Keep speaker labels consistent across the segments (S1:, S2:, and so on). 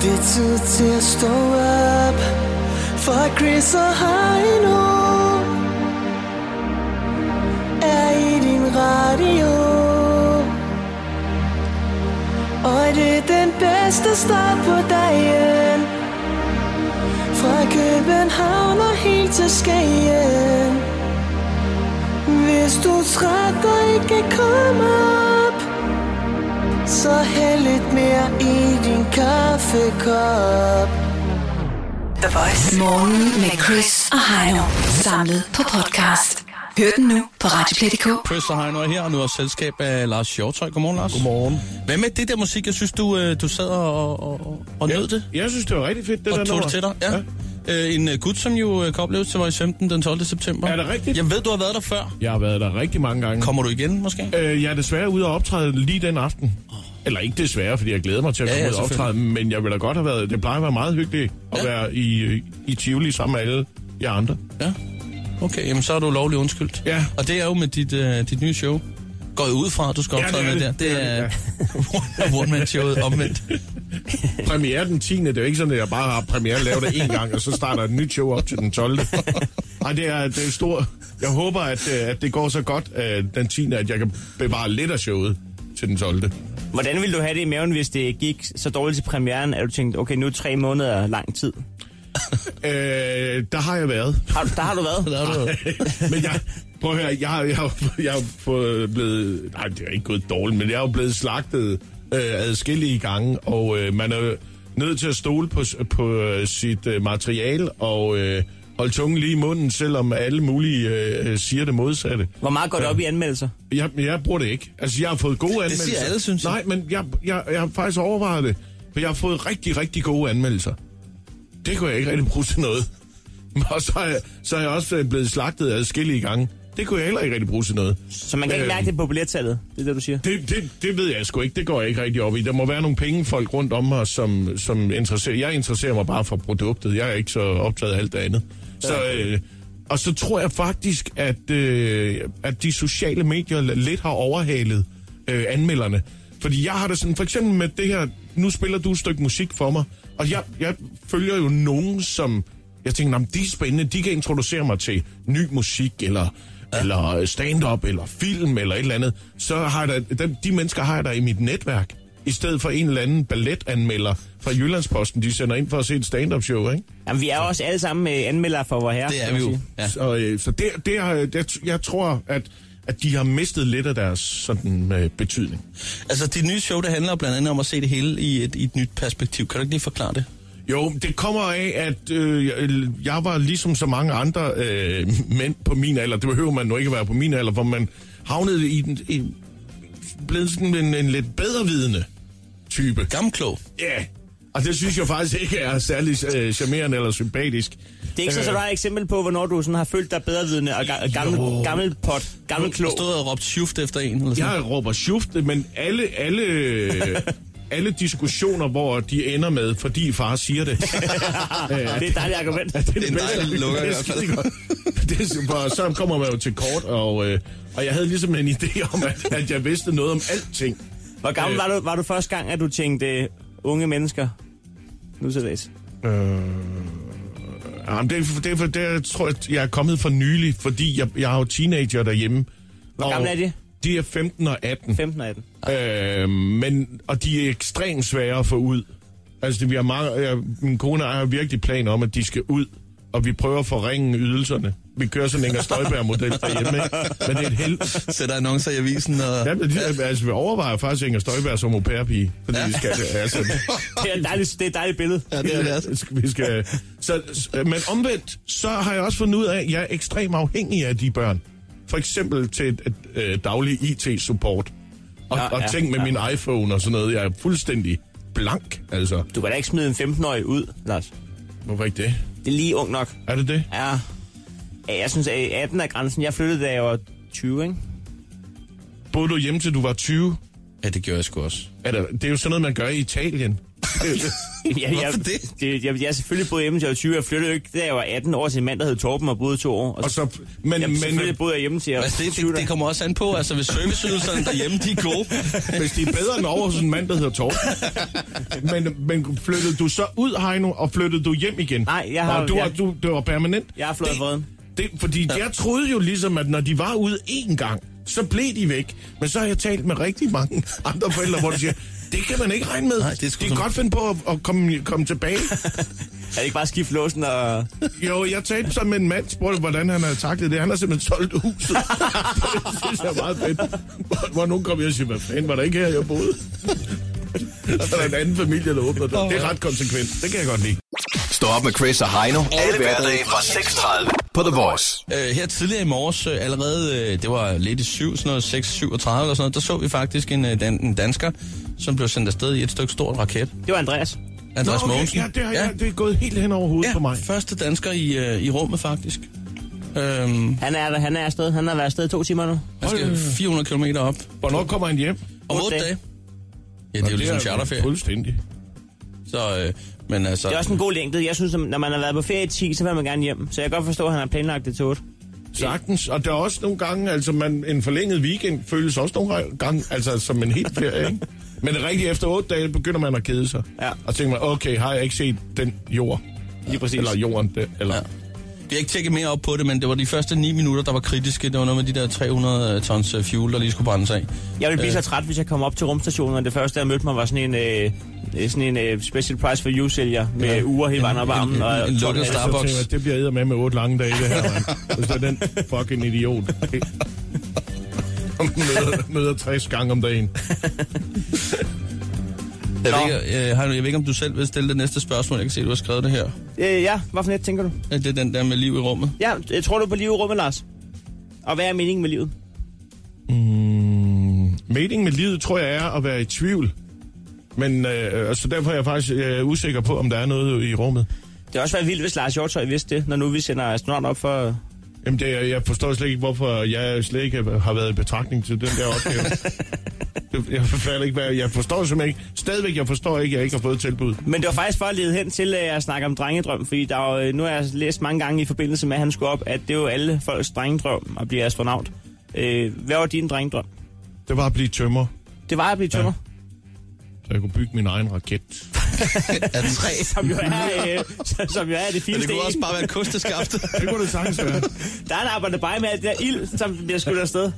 S1: tid til at stå op For Chris og Heino Er i din radio Og det er den bedste start på dagen Fra København og helt til Skagen Hvis du er træt og ikke kommer så hæld lidt mere i din kaffekop.
S2: The Voice. Morgen med Chris og Heino. Samlet på podcast. Hør den nu på Radioplay.dk.
S3: Chris og Heino er her, og nu er selskab af Lars Hjortøj. Godmorgen, Lars.
S4: Godmorgen.
S3: Hvad med det der musik? Jeg synes, du, øh, du sad og, og, og- og nød det,
S4: Jeg synes, det var rigtig fedt, det
S3: og
S4: der
S3: tog det til dig. Ja. Øh, en øh, gut, som jo øh, kan opleves til Voice 15 den 12. september.
S4: Er det rigtigt?
S3: Jeg ved, du har været der før.
S4: Jeg har været der rigtig mange gange.
S3: Kommer du igen, måske?
S4: Øh, jeg er desværre ude og optræde lige den aften. Eller ikke desværre, fordi jeg glæder mig til at
S3: Ja,
S4: komme
S3: ja,
S4: ud og optræde, men jeg ville da godt have været... Det plejer at være meget hyggeligt at
S3: Ja.
S4: være i, øh, i Tivoli sammen med alle jer andre.
S3: Ja. Okay, jamen så er du lovlig undskyldt.
S4: Ja.
S3: Og det er jo med dit, øh, dit nye show. Går jeg ud fra, at du skal
S4: Ja, det
S3: optræde
S4: er
S3: med der.
S4: det.
S3: Det
S4: Det er
S3: er one-man-showet omvendt.
S4: Premiere den 10. Det er jo ikke sådan, at jeg bare har premiere lavet det en gang, og så starter et nyt show op til den 12. Nej, det er, det er stort. Jeg håber, at, øh, at det går så godt øh, den 10. at jeg kan bevare lidt af showet til den 12.
S5: Hvordan ville du have det i maven, hvis det gik så dårligt til premieren, at du tænkte, okay, nu er tre måneder lang tid?
S4: Øh, der har jeg været.
S5: Har, du- der har du været.
S3: Der er du.
S4: Men jeg, prøv at høre, jeg, har- jeg, har- jeg, er blevet, nej, det er ikke gået dårligt, men jeg er jo blevet slagtet øh, adskillige gange, og øh, man er jo nødt til at stole på, s- på øh, sit øh, materiale, og øh, holde tungen lige i munden, selvom alle mulige øh, siger det modsatte.
S5: Hvor meget går det op i anmeldelser?
S4: Jeg, jeg bruger det ikke. Altså, jeg har fået gode anmeldelser.
S3: alle, synes jeg.
S4: Nej, men jeg, jeg, jeg har faktisk overvejet det, for jeg har fået rigtig, rigtig gode anmeldelser. Det kunne jeg ikke rigtig bruge til noget. Og så er jeg, så er jeg også øh, blevet slagtet adskillige gange. Det kunne jeg heller ikke rigtig bruge til noget.
S5: Så man kan ikke
S3: Øh.
S4: Øhm.
S5: mærke det på billettallet, det er det, du siger.
S4: Det, det, det ved jeg sgu ikke. Det går jeg ikke rigtig op i. Der må være nogle pengefolk rundt om mig, som, som interesserer. Jeg interesserer mig bare for produktet. Jeg er ikke så optaget af alt det andet. Så, øh, og så tror jeg faktisk, at, øh, at de sociale medier lidt har overhalet øh, anmelderne. Fordi jeg har det sådan, for eksempel med det her, nu spiller du et stykke musik for mig, og jeg, jeg følger jo nogen, som jeg tænker, "Nå, men de er spændende, de kan introducere mig til ny musik, eller, ja. eller stand-up, eller film, eller et eller andet. Så har jeg da, dem, de mennesker har jeg der i mit netværk, i stedet for en eller anden balletanmelder fra Jyllandsposten, de sender ind for at se et stand-up show, ikke?
S5: Jamen, vi er jo også alle sammen øh, anmeldere for vor herre.
S3: Det
S5: kan
S3: er
S5: man
S3: vi jo.
S5: sige.
S3: Ja.
S4: Så, øh, så det, det har, det, jeg tror, at, at de har mistet lidt af deres sådan, øh, betydning.
S3: Altså, dit nye show, det handler blandt andet om at se det hele i et, i et nyt perspektiv. Kan du ikke lige forklare det?
S4: Jo, det kommer af, at øh, jeg- jeg var ligesom så mange andre øh, mænd på min alder. Det behøver man nu ikke at være på min alder, for man havnede i den... I, blevet sådan en, en lidt bedrevidende type.
S3: Gammelklog.
S4: Ja, yeah. og det synes jeg faktisk ikke er særlig øh, charmerende eller sympatisk.
S5: Det er ikke
S3: Øh.
S5: så, så der er et eksempel på, hvornår du sådan har følt dig bedrevidende og ga- gammel, gammel pot, gammel
S3: Du
S5: klog.
S3: stod og råbte shift efter en, eller sådan
S4: Jeg råber schuft, men alle, alle, alle diskussioner, hvor de ender med, fordi far siger det.
S5: Det er et dejligt argument.
S4: det
S3: Det er en dejlig lukker i
S4: det er
S3: hvert fald.
S4: skidegodt. Det er super. Så kommer man jo til kort, og, øh, og jeg havde ligesom en idé om, at, at jeg vidste noget om alting.
S5: Hvor gammel
S4: Øh.
S5: var du, var du første gang, at du tænkte øh, unge mennesker? Nu til dags.
S4: Øh, jamen, det, er, for- det, er, for- det er, tror jeg, jeg er kommet for nylig, fordi jeg, jeg har jo teenager derhjemme. Hvor
S5: gamle er de?
S4: De er 15 og 18.
S5: 15 og 18.
S4: Øh, men, og de er ekstremt svære at få ud. Altså, det, vi har meget, jeg, min kone og jeg har virkelig planer om, at de skal ud, og vi prøver at forringe ydelserne. Vi kører sådan en Inger Støjberg-model derhjemme, ikke? Men det er et helvede.
S3: noget. Sætter annoncer i avisen, og...
S4: Ja, men de, altså, vi overvejer faktisk Inger Støjberg som au pair-pige, fordi ja. vi skal, altså,
S5: Det er et dejligt, det er et dejligt billede.
S3: Ja, det er det også.
S4: vi skal, så, s- men omvendt, så har jeg også fundet ud af, at jeg er ekstremt afhængig af de børn. For eksempel til et, et, øh, daglig IT-support. Og, ja,
S5: Ja,
S4: og
S5: ja,
S4: ting med
S5: ja.
S4: min iPhone og sådan noget. Jeg er fuldstændig blank, altså.
S5: Du kan da ikke smide en 15-årig ud, Lars.
S4: Hvorfor ikke det?
S5: Det er lige ung nok.
S4: Er det det?
S5: Ja. ja jeg synes, at 18 er grænsen. Jeg flyttede, da jeg var 20, ikke?
S4: Boede du hjemme til du var 20?
S3: Ja, det gjorde jeg sgu også.
S4: Er det, det er jo sådan noget, man gør i Italien.
S5: jeg, jeg,
S3: Hvorfor det?
S5: det jeg, jeg er selvfølgelig boet hjemme til jeg var 20. Jeg flyttede jo ikke, da jeg var 18 år til en mand, der hed Torben og boede i to år.
S4: Og så, men,
S5: Jamen, selvfølgelig
S4: men
S5: boede jeg hjemme til jeg var
S3: Altså, det,
S5: 20.
S3: det, det kommer også an på, altså hvis serviceydelserne derhjemme, de er gode.
S4: hvis de er bedre end over hos en mand, der hedder Torben. men, men flyttede du så ud, Heino, og flyttede du hjem igen?
S5: Nej, jeg har-
S4: Og du,
S5: jeg-
S4: var- du, det var permanent?
S5: Jeg har flået
S4: Det-
S5: vreden.
S4: Det, fordi jeg troede jo ligesom, at når de var ude én gang, så blev de væk. Men så har jeg talt med rigtig mange andre forældre, hvor de siger, det kan man ikke regne med.
S3: Nej, det er sgu
S4: de kan
S3: som-
S4: godt finde på at, at komme, komme tilbage.
S5: Er det ikke bare skift låsen og...
S4: Jo, jeg talte så med en mand, spurgte, hvordan han havde taklet det. Han har simpelthen solgt huset. det synes jeg er meget fedt. Hvor, hvor nogen kom jeg og siger, hvad fanden var der ikke her, jeg boede? så er der en anden familie, der åbner det. Det er ret konsekvent. Det kan jeg godt lide.
S6: Stå op med Chris og Heino. Alle hverdage fra 6.30 på The Voice.
S3: Øh, her tidligere i morges, øh, allerede, øh, det var lidt i syv, sådan noget 6, 37 eller sådan noget, der så vi faktisk en, øh, dan, en dansker, som blev sendt afsted i et stykke stort raket.
S5: Det var Andreas.
S3: Andreas
S4: Nå, okay.
S3: Mogensen.
S4: Ja, det, har jeg, det er gået helt hen over hovedet
S3: ja,
S4: på mig.
S3: første dansker i, øh, i rummet faktisk. Øhm,
S5: Han er, han er afsted. Han har været afsted i to timer nu.
S3: han skal 400 km op.
S4: Hvornår kommer han hjem?
S3: Om
S5: Otte
S3: 8
S5: dage.
S3: dage. Ja, det er jo ligesom charterferie.
S4: Fuldstændig.
S3: Så, øh, men altså,
S5: Det er også en god længde. Jeg synes, at når man har været på ferie i 10, så vil man gerne hjem. Så jeg kan godt forstå, at han har planlagt det til 8.
S4: Sagtens. Og der er også nogle gange, altså man, en forlænget weekend føles også nogle gange altså, som en helt ferie, ikke? Men rigtig efter otte dage begynder man at kede sig.
S5: Ja.
S4: Og tænker man, okay, har jeg ikke set den jord?
S5: Lige præcis.
S4: Eller jorden, det, eller...
S3: Ja.
S4: Ja.
S3: Vi har ikke tjekket mere op på det, men det var de første 9 minutter, der var kritiske. Det var noget med de der 300 tons øh, fuel, der lige skulle brændes af.
S5: Jeg ville blive
S3: Øh.
S5: så træt, hvis jeg kom op til rumstationen, og det første, jeg mødte mig, var sådan en, øh, øh, sådan en øh, special price for you-sælger med
S3: Ja.
S5: ja. uger hele vejen op
S3: En-
S5: ad armen.
S3: en-
S5: og-
S3: en- en lukket
S5: og-
S3: star-
S4: Så
S3: Starbucks.
S4: tænker jeg, det bliver æder med med otte lange dage, det her. mand. Hvis det er den fucking idiot. Det- Som møder, møder 60 gange om dagen.
S3: Jeg ved, ikke, øh, Heino, jeg ved ikke, om du selv vil stille det næste spørgsmål. Jeg kan se, at du har skrevet det her.
S5: Øh, ja, hvad for net tænker du?
S3: Ja, Det er den der med liv i rummet.
S5: Ja, øh, tror du på livet i rummet, Lars? Og hvad er meningen med livet?
S4: Meningen med livet, tror jeg, er at være i tvivl. Men øh, altså, derfor er jeg faktisk øh, usikker på, om der er noget i rummet.
S5: Det har også været vildt, hvis Lars Hjortøj vidste det, når nu vi sender astronauter op for...
S4: Jamen, det, jeg forstår slet ikke, hvorfor jeg slet ikke har været i betragtning til den der opgave. jeg, forstår ikke, hvad, jeg forstår simpelthen ikke. Stadigvæk, jeg forstår ikke, at jeg ikke har fået tilbud.
S5: Men det var faktisk for at lede hen til øh, at snakke om drengedrøm, fordi der er, jo, øh, nu har jeg læst mange gange i forbindelse med, at han skulle op, at det er jo alle folks drengedrøm at blive astronaut. Øh, hvad var din drengedrøm?
S4: Det var at blive tømmer,
S5: Det var at blive tømmer.
S4: så jeg kunne bygge min egen raket.
S3: Af træ.
S5: Som jo er, øh, som- som jo er det
S3: Men det
S5: fineste
S3: kunne også
S5: det
S3: bare være kosteskaftet.
S4: Det kunne det sagtens være.
S5: Der er en arbejder bare med alt det der ild, som bliver skudt afsted.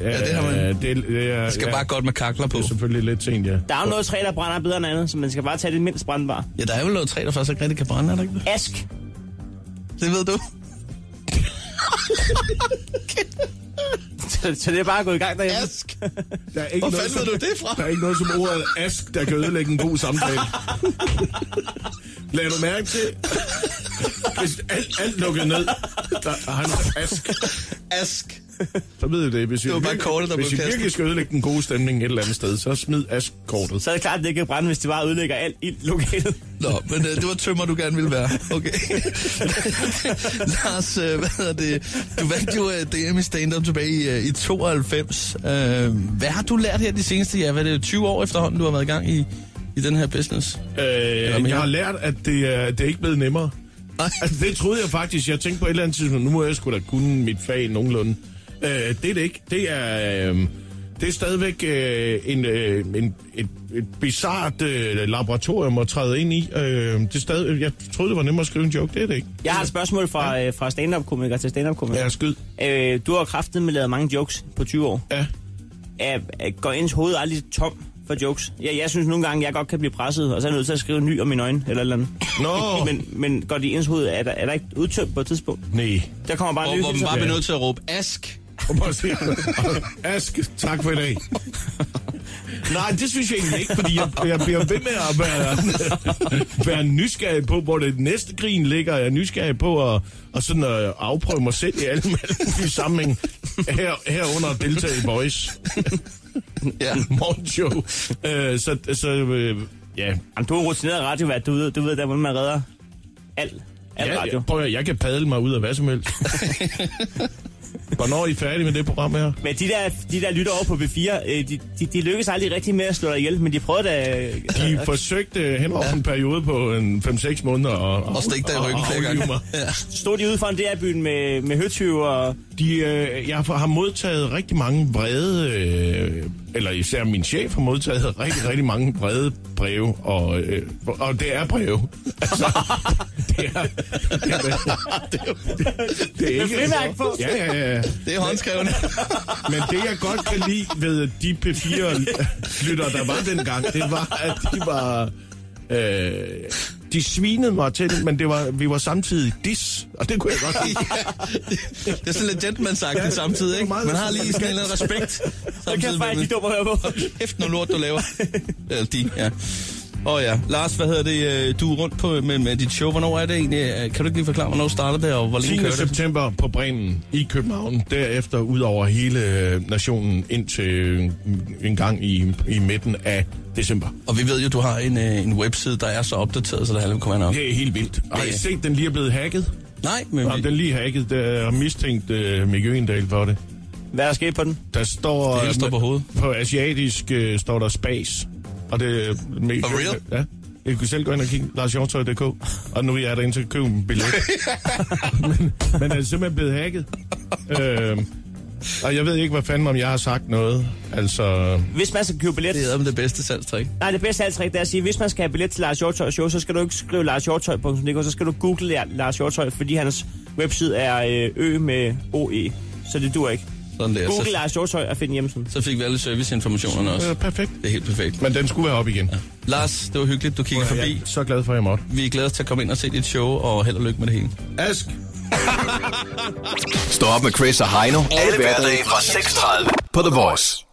S4: ja,
S3: det har man.
S4: Det, det, det, er,
S3: Det skal
S4: ja,
S3: bare godt med kakler på.
S4: det er selvfølgelig lidt sent, ja.
S5: Der er jo noget træ, der brænder bedre end andet, så man skal bare tage det mindst brændbare.
S3: Ja, der er jo noget træ, der faktisk ikke rigtig kan brænde, er der ikke det?
S5: Ask.
S3: Det ved du.
S5: Så, så det er bare gået i gang derhjemme.
S4: Der er ikke
S3: Hvor fanden ved du det fra?
S4: Der er ikke noget som ordet ask, der kan ødelægge en god samtale. Lad du mærke til, hvis alt, alt lukkede ned, der har han ask.
S3: Ask.
S4: Så ved du det. Hvis I,
S3: var bare
S4: virkelig-
S3: kortet, der
S4: hvis
S3: blev
S4: I virkelig
S3: kastet.
S4: skal ødelægge den gode stemning et eller andet sted, så smid ask-kortet.
S5: Så er det klart, at det ikke kan brænde, hvis det bare ødelægger alt ild lokalt.
S3: Nå, men øh, det var tømmer, du gerne ville være. Okay. Lars, øh, hvad hedder det? Du vandt jo øh, DM i stand-up tilbage i, øh, i 92. Øh, hvad har du lært her de seneste, ja, hvad er det, 20 år efterhånden, du har været i gang i, i den her business?
S4: Øh,
S3: mere?
S4: jeg har lært, at det, er, det er ikke blevet nemmere. Altså, det troede jeg faktisk. Jeg tænkte på et eller andet tidspunkt, nu må jeg sgu da kunne mit fag nogenlunde. Øh, det er det ikke. Det er, øh, det er stadigvæk øh, en, øh, en, et, et bizart øh, laboratorium at træde ind i. Øh, det er stadig, jeg troede, det var nemmere at skrive en joke. Det er det ikke.
S5: Jeg har et spørgsmål fra, øh, fra stand-up-komiker til stand-up-komiker.
S4: Jeg er skyd.
S5: Øh, du har kraftet med lavet mange jokes på 20 år.
S4: Ja.
S5: Er, er, går ens hoved aldrig tom for jokes? Jeg, jeg synes nogle gange, jeg godt kan blive presset, og så er jeg nødt til at skrive en ny om mine øjne, eller et eller andet.
S4: Nå.
S5: Men, men går det i ens hoved, er der, er der ikke udtømt på et tidspunkt?
S4: Nej.
S5: Der kommer bare
S3: Hvor,
S5: en ny
S3: hvor man
S5: hilsen.
S3: bare bliver nødt til at råbe, ask.
S4: Og bare sige, Ask, tak for i dag. Nej, det synes jeg egentlig ikke, fordi jeg, jeg bliver ved med at være, være nysgerrig på, hvor det næste grin ligger. Jeg er nysgerrig på at, at sådan, at afprøve mig selv i alle mulige sammenhæng. Her, herunder at deltage i Voice.
S3: Ja.
S4: Morgenshow. Øh, så, så øh, ja.
S5: Jamen, du er rutineret radiovært, du ved, du ved der, hvordan man redder alt. Alt
S4: Ja,
S5: radio.
S4: jeg, prøv at, høre, jeg kan padle mig ud af hvad som helst. Hvornår er I færdige med det program her?
S5: Men de der, de der lytter over på B4, øh, de, de, de lykkes aldrig rigtig med at slå dig ihjel, men de prøvede da... øh,
S4: De forsøgte hen over en periode på en 5-6 måneder og,
S3: Og stikke dig i ryggen flere gange. Ja.
S5: Stod de ude foran DR-byen med, med høtyve og...
S4: De, øh, jeg har modtaget rigtig mange brede, øh, eller især min chef har modtaget rigtig, rigtig mange brede breve, og, øh, og det er breve. Altså, det er, det er, det er, det er ikke...
S5: frimærke på.
S4: Ja, ja, ja.
S3: Det er håndskrevne.
S4: Men det, jeg godt kan lide ved de P4-lytter, der var dengang, det var, at de var... Øh, de svinede mig til det, men det var, vi var samtidig dis, og det kunne jeg godt lide.
S3: det er sådan lidt gentleman-sagt samtidig, ikke? Man har lige sådan en eller anden respekt.
S5: ligesom Jeg kan
S3: samtidig med-
S5: faktisk ikke dumme at høre på.
S3: Kæft noget lort, du laver. Eller de, ja. Åh oh ja. Lars, hvad hedder det? øh, Du er rundt på med, med dit show. Hvornår er det egentlig? Øh, Kan du ikke lige forklare, hvornår starter det, og hvor længe
S4: 10.
S3: kører det?
S4: september på Bremen i København, derefter ud over hele øh, nationen indtil øh, en gang i, i midten af december.
S3: Og vi ved jo, du har en, øh, en webside, der er så opdateret, så det halve kommer nok.
S4: Det er helt vildt. Har I
S3: Det er-
S4: set, den lige er blevet hacket?
S3: Nej, men
S4: Jamen,
S3: vi,
S4: den er lige hacket, der er mistænkt øh, Mikke Øgendal for det.
S5: Hvad er der sket på den?
S4: Der står... øh,
S3: Det hele står på hovedet.
S4: På asiatisk øh, står der spas. Og det er... Mega,
S3: For real?
S4: Ja. Jeg kunne selv gå ind og kigge larshjortøj.dk, og nu er jeg derinde til at købe en billet. men, men er simpelthen blevet hacket. øh, og jeg ved ikke, hvad fanden, om jeg har sagt noget. Altså,
S5: Hvis man skal købe billet...
S3: det er med det bedste salgstrik.
S5: Nej, det bedste af alt trick, det er at sige, hvis man skal have billet til Lars Hjortøj Show, så skal du ikke skrive larshjortøj.dk, så skal du google La- Lars Hjortøj, fordi hans webside er øh, ø med OE, så det dur ikke.
S3: Sådan der.
S5: Google
S3: Så,
S5: Lars Hjortøj og find hjemmesiden.
S3: så fik vi alle serviceinformationerne også.
S4: øh, perfekt.
S3: Det er helt perfekt.
S4: Men den skulle være op igen. Ja.
S3: Lars, det var hyggeligt, du kiggede
S4: Jeg
S3: forbi.
S4: er så glad for, at jeg måtte.
S3: Vi glæder os til at komme ind og se dit show, og held og lykke med det hele.
S4: Ask!
S6: Stå op med Chris og Heino. Alle hverdage fra 6.30 på The Voice.